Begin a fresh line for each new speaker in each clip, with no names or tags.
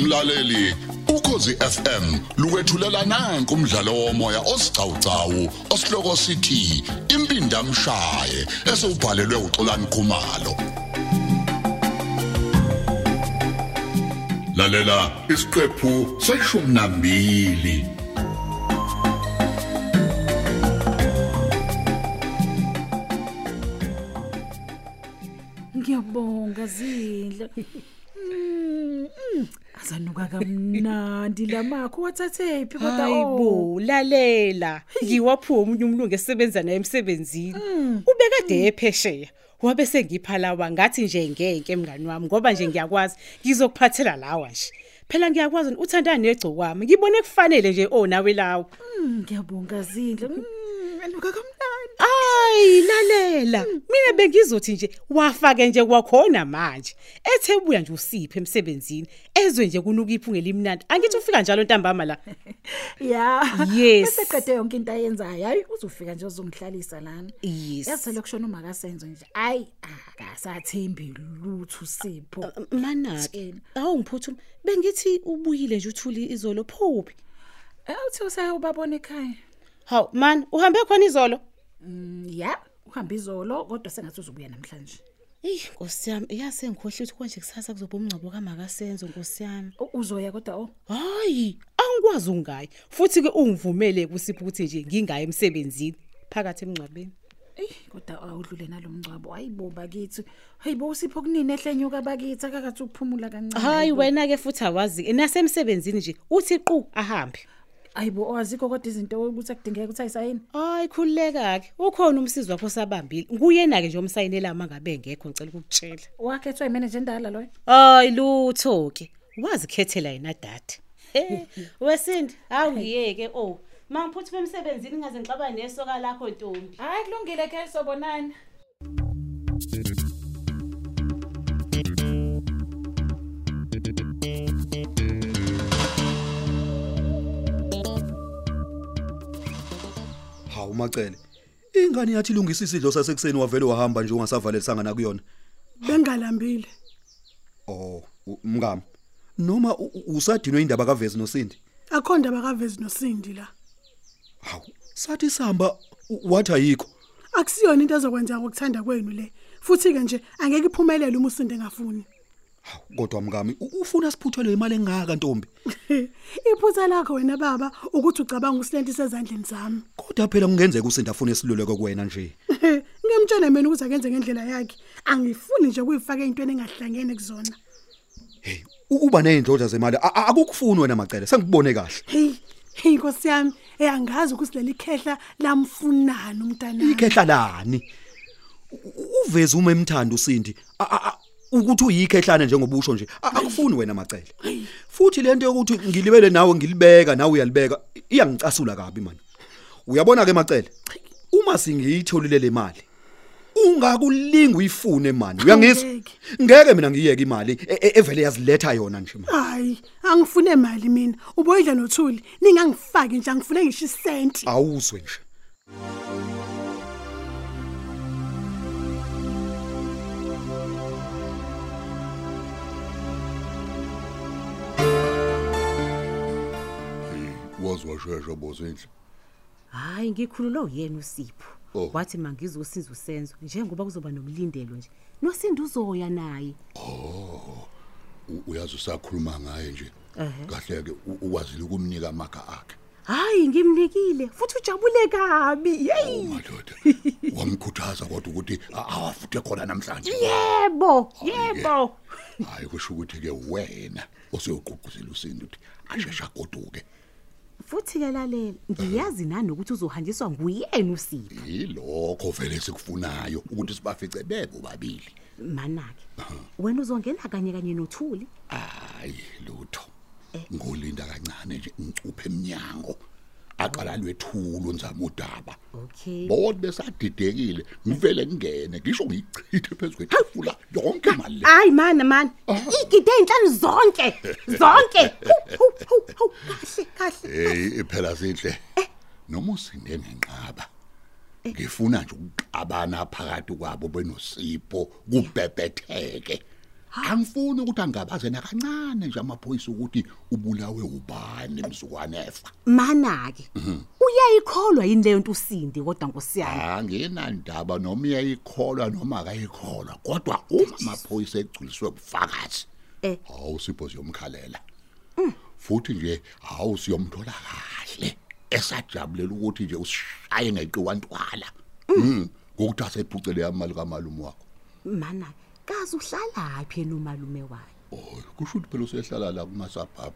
mlaleli ukhosi FM lukwethulela nanku umdlalo womoya osiqhawqhawo osihloko sithi impindi amshaye esubhalelwe uXolani Khumalo lalela isiqephu seshumi nambili
Ngiyabonga zindle. Mm, mm, Azanuka kamnandi lamakho wathathe phi kodwa Oh,
Hayibo lalela ngiwaphuwa umunye umlungu esebenza naye emsebenzini ubekade ephesheya wabe sengipha lawa ngathi nje ngeke mngani wami ngoba nje ngiyakwazi ngizokuphathela lawa nje phela ngiyakwazi uthanda negcokwami ngibone kufanele nje o nawe lawo
Mm, Ngiyabonga zindle. Mm, Anuka kamnandi.
Ayi lalela mina bengizothi nje wafake nje kwakhona manje ethebuya nje usiphe emsebenzini ezwe nje kunuka iphunge limnandi angithi ufika njalo ntambama la
Ya.
Yes.
Eseqede yonke into ayenzayo. Hayi uzofika nje uzongihlalisa lana.
yes
Yasele kushona uma akasenzo nje. Hayi akasathembi lutho sipho.
mana ke
Sikeni.
awu ngiphuthuma bengithi ubuyile nje uthuli izolo phuphi
Eh uthi usayobabona ekhaya.
hawu man uhambe khona izolo
Mm, Ya, uhamba izolo kodwa sengathi uzobuya namhlanje.
eyi nkosi yami yase ngikhohle ukuthi konje kusasa kuzoba umngcwabo kamakasenzo nkosi yami
U- Uzoya kodwa oh.
hayi angikwazi ungayi futhi ke ungivumele kusipho ukuthi nje ngingayi emsebenzini phakathi emngcwabeni
Ey kodwa awudlule nalomncwabo hayibo bakithi hayibo usipho kunini ehlenyuka bakithi akakathi ukuphumula kancane
hayi wena ke futhi awazi nasemsebenzini nje uthi qu ahambe
hayibo owazikho kodwa izinto ukuthi akudingeka ukuthi ayisayini
hayi khululeka ke ukhona umsizi wakho osabambile nguyena ke nje umsayinela uma ngabe ngekho ngicela ukukutshela
wakhethwa imanager endala loyo
Hayi lutho ke. Wazikhethela yena dad. Eh, wesindi awuyeke oh. Mangiphuthume emsebenzini ngaze ngixabane nesoka lakho Ntombi.
hayi kulungile ke sobonani
hawu macele ingane yathi lungisa isidlo sasekuseni wavele wahamba nje ungasavalelisanga nakuyona
Bengalambile.
oh u- mngami noma u- u- usadinwe indaba kavezi nosindi
Akho ndaba kavezi noSindi la.
hawu sathi sihamba u- wathi ayikho
Akusiyona into ezokwenza ngokuthanda kwenu le. Futhi ke nje angeke iphumelele uma uSindi engafuni.
hawu kodwa mngami u- ufuna siphuthelwe imali engaka ntombi
Iphutha lakho wena baba ukuthi ucabanga usilento sezandleni zami.
kodwa phela kungenzeka usindi afune isiluleko kuwena nje
Ngiyamtshela mina ukuthi akenze ngendlela yakhe. Angifuni nje ukuyifaka eintweni engahlangene kuzona.
hey u- uba nezindlodla zemali A- a- akukufuni wena macele sengikubone kahle
Hey, hey Nkosi yami, eyangazi ukuthi leli khehla lamfunana umntanami.
ikhehla lani U- u- uveze uma emthanda usindi A- a- a- ukuthi uyikhehlana njengobusho nje A- akufuni wena macele futhi lento yokuthi ngilibele nawe ngilibeka nawe uyalibeka i- iyangicasula kabi manje uyabona ke macele uma singiyitholile le mali ungakulinga uyifune manje uyangizwa
Angeke.
ngeke mina ngiyeke imali e- e- evele yaziletha yona nje manje
Hayi, angifune imali mina. Uboyidla nothuli, ningangifaki nje angifune ngisho isenti.
awuzwe nje
wazwashesha bozo inhle
Hayi ngikhululwe uyena uSipho.
Oh.
Wathi mangizosinza usenzo njengoba kuzoba nomlindelo nje. Nosindi uzoya naye.
U- uyazi usakhuluma ngaye nje
Ehhe.
kahle ke ukwazile ukumnika amaga akhe
Hayi ngimnikile futhi ujabule kabi. Hey
madoda Oh, wamkhuthaza kodwa ukuthi a- awafuthe khona namhlanje
yebo,
Hayi-ke.
yebo.
hayi kusho ukuthi ke wena osoyoqhuquzela usindi ukuthi ashesha goduke
Futhi ke lalela ngiyazi nanokuthi uzohanjiswa nguyena uSipho.
yilokho vele sikufunayo ukuthi sibafice bebo babili
manake wena uzongena kanye kanye nothuli
hayi lutho ngolinda kancane nje ngicuphe eminyango aqala lwethulo nzama udaba
okay
bonke besadidekile ngivele ngingene ngisho ngiyichithe phezu kwetafula yonke imali le
hayi mana mana igide inhlanu zonke zonke Hu, hu, hu, hu. kahle kahle
hey iphela sinhle noma usinde ngenqaba ngifuna nje ukuqabana phakathi kwabo benosipho kubhebhetheke angifuni ukuthi angabaze nakancane nje amaphoyisa ukuthi ubulawe ubani mzukwane efa
mana-ke uyayikholwa yini leyo nto usindi kodwa nkosiyami
angenandaba noma iyayikholwa noma akayikholwa kodwa uma amaphoyisa egculiswe ubufakazi
Eh.
hawu sipho siyomkhalela Mm. futhi nje hawu siyomthola kahle esajabulela ukuthi nje usishaye ngeqiwantwala Mm, ngokuthi asephucele yamali kamalume wakho
mana kazi uhlalaphi yena umalume wayo
Oh, kusho ukuthi phela usehlala la kumasabhabhu.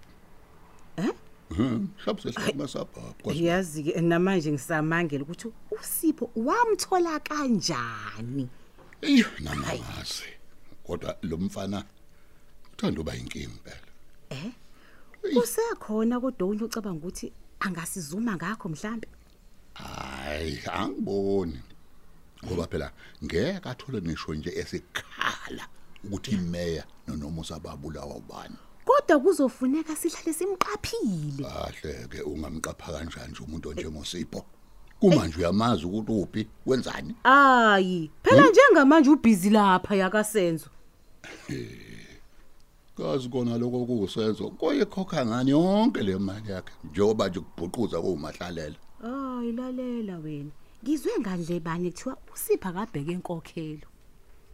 Eh? Mhm, shabu sehlala kumasabhabhu. kwazi-
yazi-ke namanje ngisamangela
ukuthi usipho wamthola kanjani
Eyi, namazi. Kodwa lo mfana uthanda uba inkingi phela.
usekhona kodwa unye ucabanga ukuthi angasizuma ngakho mhlambe
Hayi, angiboni. Ngoba phela ngeke athole nisho nje esikhala ukuthi imeya nonomusa babulawa ubani.
kodwa kuzofuneka sihlale simqaphile
Kahle ke ungamqapha kanjani nje umuntu onjengosipho. Kuma nje uyamazi ukuthi uphi, wenzani.
hayi phela njengamanje ubhizi lapha yakasenzo
kazi kona lokho kusenzo koyikhokha ngani yonke le mali yakhe njengoba nje kubhuquza kuwumahlalela
hayi lalela Oh, wena ngizwe ngandle bani kuthiwa usipha kabheke inkokhelo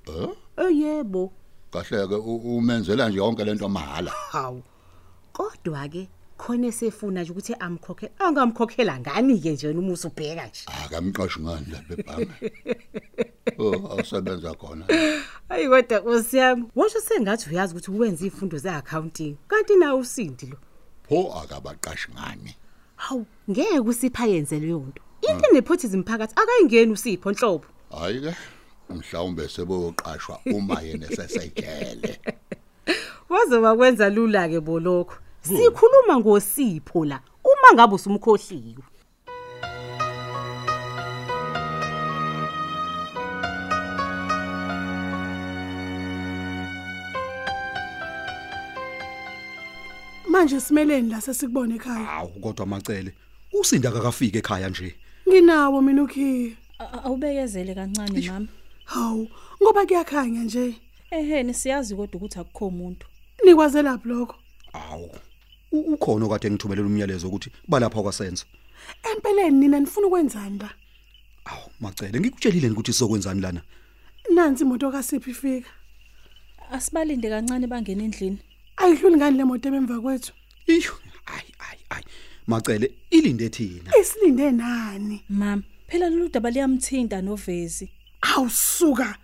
eh
Oh, eyebo
kahleke u- umenzela nje yonke lento mahala
hawu kodwa-ke khona esefuna nje ukuthi amkhokhe angamkhokhela ngani-ke njena uma usubheka nje
akamqashi ngani lapha ebhange oh awusebenza khona
hayi kodwa usiyami washo sengathi uyazi ukuthi wenze iy'fundo ze-akhawunting kanti nawe usindi lo
pho akabaqashi ngani
hawu ngeke usipha yenze leyo nto into enephothizm phakathi akayingeni usipho nhlobo
hayi ke mhlawumbe seboyoqashwa uma yena sesejele
wazoba kwenza lula-ke bolokho sikhuluma ngosipho la uma ngabe usumkhohliwe
manje simeleni la sesikubona ekhaya
hawu kodwa macele usinda kakafika ekhaya nje
nginawo mina ukhiye
A- awubekezele kancane mama
hawu ngoba kuyakhanya nje
ehene siyazi kodwa ukuthi akukho umuntu
nikwazelaphi lokho
hawu u- ukhona okade ngithumelela umyalezo ukuthi balapha kwasenzo
empeleni nina nifuna ukwenzani la
hawu macele ngikutshelile nje ukuthi sizokwenzani lana
nansi imoto kasiphi ifika
asibalinde kancane bangena endlini
ayidluli ngani le moto ebemva kwethu
iyo ayi ayi ayi macele ilinde thina
isilinde nani
mama phela lolu daba liyamthinta novezi
awusuka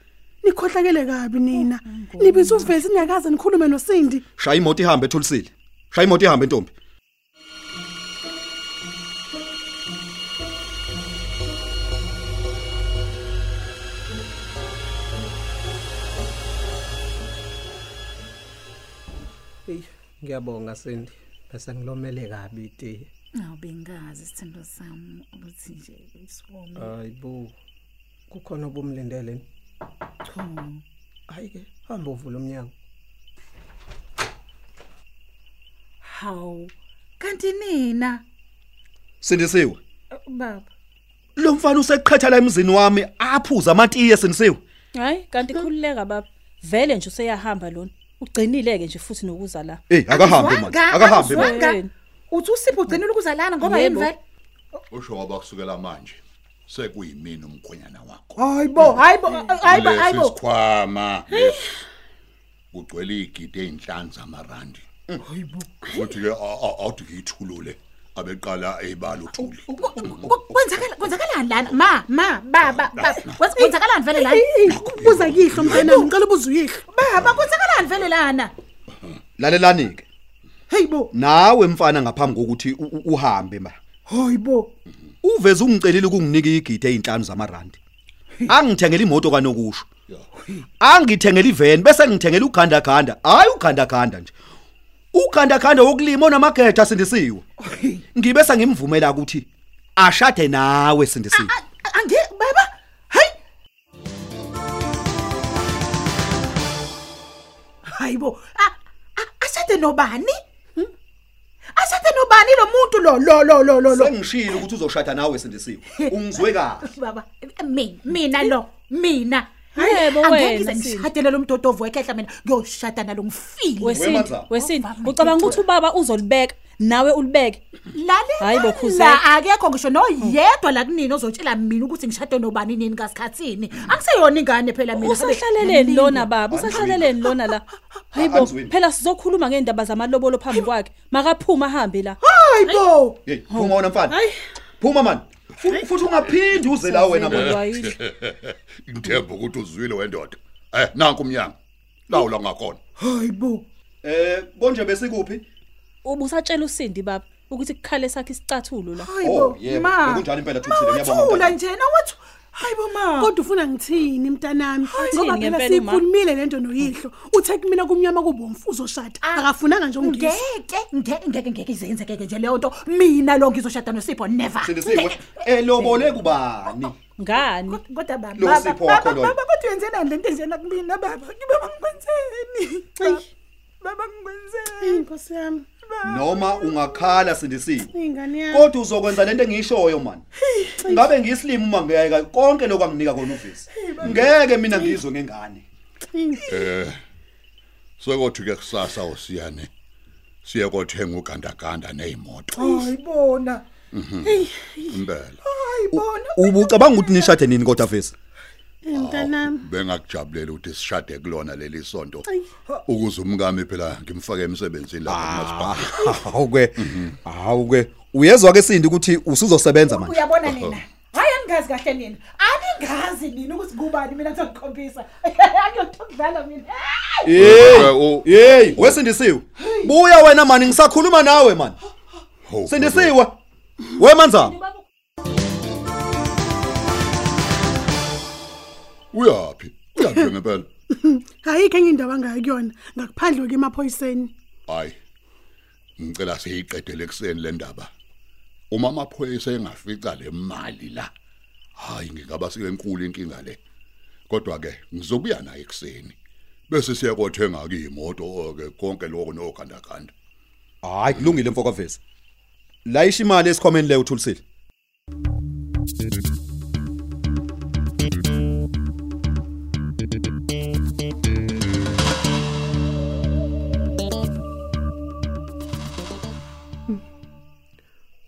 nikhohlakele kabi nina nibiza uvesi niyakaze nikhulume nosindi
shaya imoto ihambe ethulisile shaya imoto ihambe ntombi
Eyi, ngiyabonga Sindi. Bese ngilomele kabi iti.
awu bengazi isithembiso sami ukuthi nje isome
Hayibo. Kukhona obumlindele.
cho
Hayi ke, hamba uvula umnyango.
hawu kanti nina
sindisiwe
Uh, baba
lo mfana useqhetha la emzini wami aphuza amatiye sindisiwe
hayi kanti
Hm.
khululeka baba vele nje useyahamba lona ugcinile-ke nje futhi nokuza la
Ey akahambe manje
Angizwanga,
akahambe manje
angizwanga.
manje.
uthi usipho ugcinile ukuzalana ngoba yini
Yebo.
vele
usho waba kusukela manje sekuyimini umkhonyana wakho
hayibo hayibo hayibo
Lesi
hayibo
sikhwama lesi. kugcwele igidi eyinhlanu zamarandi ukuthi ke a- a- awuthi ngiyithulule abeqala eyibala uthuli
kwenzakalani kwenzakalani lana ma ma baba baba kwenz- kwenzakalani vele lana
buza kihlo mntanami ngicela ubuza uyihlo
baba kwenzakalani vele lana
lalelani ke
hey bo
nawe mfana ngaphambi kokuthi u- u- uhambe ma
hoy bo
uveze ungicelile ukunginika igidi ezinhlanu zamarandi angithengele imoto kanokusho angithengele iveni bese ngithengele ukhanda khanda hayi ukhanda khanda nje ukhanda khanda wokulima onamagetha sindisiwe ngibe sengimvumela ukuthi ashade nawe sindisiwe
ange baba hayi hayibo a- a- ashade nobani Hmm? ashade nobani lo muntu lo lo lo lo lo lo
sengishilo ukuthi uzoshada nawe sindisiwe ungizwe kahle
baba mi- mina lo mina
Yebo
Angeke
wena Sindi.
ngishadele lo mdodovu wekhehla mina ngiyoshada nalo ngifile.
Wesindi,
Wemazala.
wesindi.
Ovama
Ucabanga ukuthi ubaba uzolibeka nawe ulibeke?
Lalela.
Hhayi bo, Khuzela.
la, akekho ngisho noyedwa la kunini ozotshela mina ukuthi ngishade nobani nini ngasikhathini. Angiseyona ingane phela mina. ngabe-
Usahlaleleni lona baba, usahlaleleni lona la. Hayibo,
Anzwini.
phela sizokhuluma ngeendaba zamalobolo phambi kwakhe. Makaphuma ahambe la.
Hayibo. Hey, phuma wena mfana. Phuma man. Fu- Futhi ungaphindi uze la wena
Sazile
bona.
wayile.
Ngithemba ukuthi uzwile wendoda. Eh nanku umnyango. Lawula ngakhona.
Eh konje bese kuphi?
Ubusatshela uSindi baba ukuthi kukhale sakhe isicathulo la.
Oh, yebo. Kunjani impela thuthile
Thula
ngiyabonga.
njena wathi hayibo ma. Kodwa ufuna ngithini mntanami? Ngoba
Uthini
phela
ngempela, ma?
sikhulumile lento noyihlo. Uthe kumina kumnyama kubomfu uzoshada.
Ah,
Akafunanga nje ungizwe.
Ngeke, ngeke ngeke ngeke izenzeke nje leyo nto. Mina lo ngizoshada noSipho never.
Sele siwe. Elobole Eh, kubani?
Ngani?
Kodwa baba,
Lo Sipho wakho loyo.
kodwa uyenzelani lento enjena kumina baba? Ngibe ngikwenzeni? Baba ngikwenzeni? Inkosi yami.
Noma ungakhala sindisiwe.
Ingane yami.
Kodwa uzokwenza lento engishoyo man. Ngabe ngiyislimi uma ngiyeka konke lokho anginika kona uvisi. Ngeke mina ngizwe ngengane.
Eh. Sokuthi ke kusasa usiyane. Siye kothenga ugandaganda nezimoto.
Ayibona.
Impela.
Ayibona.
Ubucabanga ukuthi nishade nini kodwa vese?
Mntanami.
Oh, Bengakujabulela ukuthi sishade kulona leli sonto. Ukuze umkami phela ngimfake emsebenzini la kumasipala.
Awuke. Awuke. Uyezwa ke Sindi ukuthi usuzosebenza manje.
Uyabona nina. Hayi angazi kahle nina. Aningazi nina ukuthi kubani mina ngizokukhombisa. Akuyonto kudlala mina. Hey!
Eh, u-
Hey, wesindisiwe. Buya wena mani ngisakhuluma nawe mani.
Ho,
Sindisiwe. Wemanzana.
Uyaphi? Uyaphi ngempela?
Hayi ke ngindaba ngayo kuyona. Ngakuphandle ke emaphoyiseni.
Hayi. Ngicela siyiqedele ekseni le ndaba. Uma amaphoyisa engafica le mali la. Hayi ngingaba senkulu inkinga le. Kodwa ke ngizobuya naye ekseni. Bese siyakothenga ke imoto ke konke lokho nokhandakanda.
Hayi kulungile mfoko vese. La ishimali esikhomeni le uthulisile.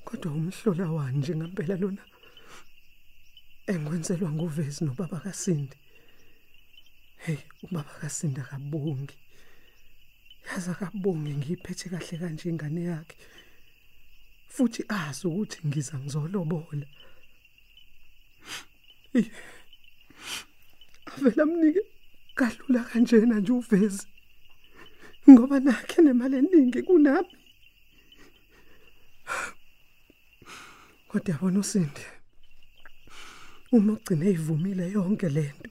kodwa umhlola wanje ngempela lona engikwenzelwa nguvezi nobaba kaSindi hey ubaba kaSindi akabongi yaza kabongi ngiyiphethe kahle kanje ingane yakhe futhi azi ukuthi ngiza ngizolobola Eyi, avela mnike kalula kanjena nje uvezi ngoba nakhe nemali eningi kunami Kodwa yabona uSindi. Uma ugcine ivumile yonke lento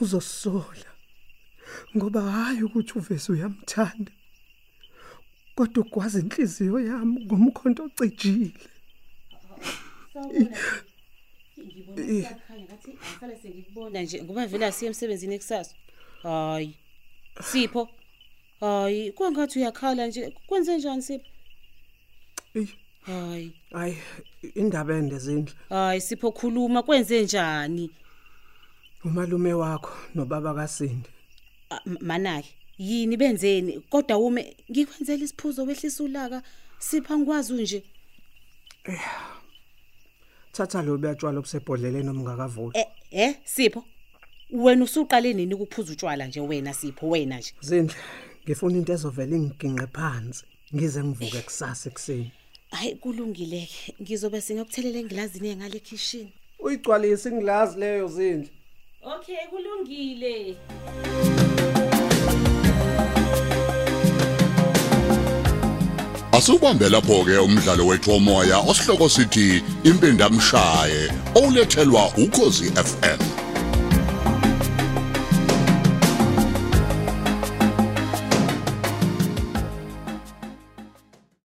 uzosola. Ngoba hayi ukuthi uvese uyamthanda. Kodwa ugwazi inhliziyo yami ngomkhonto ocijile.
Bona nje ngoba vela siye emsebenzini eksasa. Hayi. Sipho. Hayi, kwangathi uyakhala nje. Kwenze njani Sipho?
Eyi,
Hayi.
Hayi indaba ende zindle.
Hayi Sipho khuluma kwenze njani?
Umalume wakho nobaba kaSindi.
Ah, m- Manaki, yini benzeni? Kodwa ume ngikwenzela isiphuzo wehlisa ulaka. Sipho angikwazi unje.
Thatha lo buyatshwala obusebhodleleni omngakavuthi.
Eh eh Sipho. Wena usuqale nini ukuphuza utshwala nje wena Sipho wena nje.
Zindle, ngifuna into ezovela ingiginqe phansi. Ngize ngivuke kusasa ekseni.
Hayi kulungile ke. Ngizobe singakuthelela engilazini ngale kitchen.
Uyigcwalisa ingilazi leyo zindle.
Okay, kulungile.
Asubambe lapho ke umdlalo wethomoya osihloko sithi impindamshaye olethelwa ukozi FM.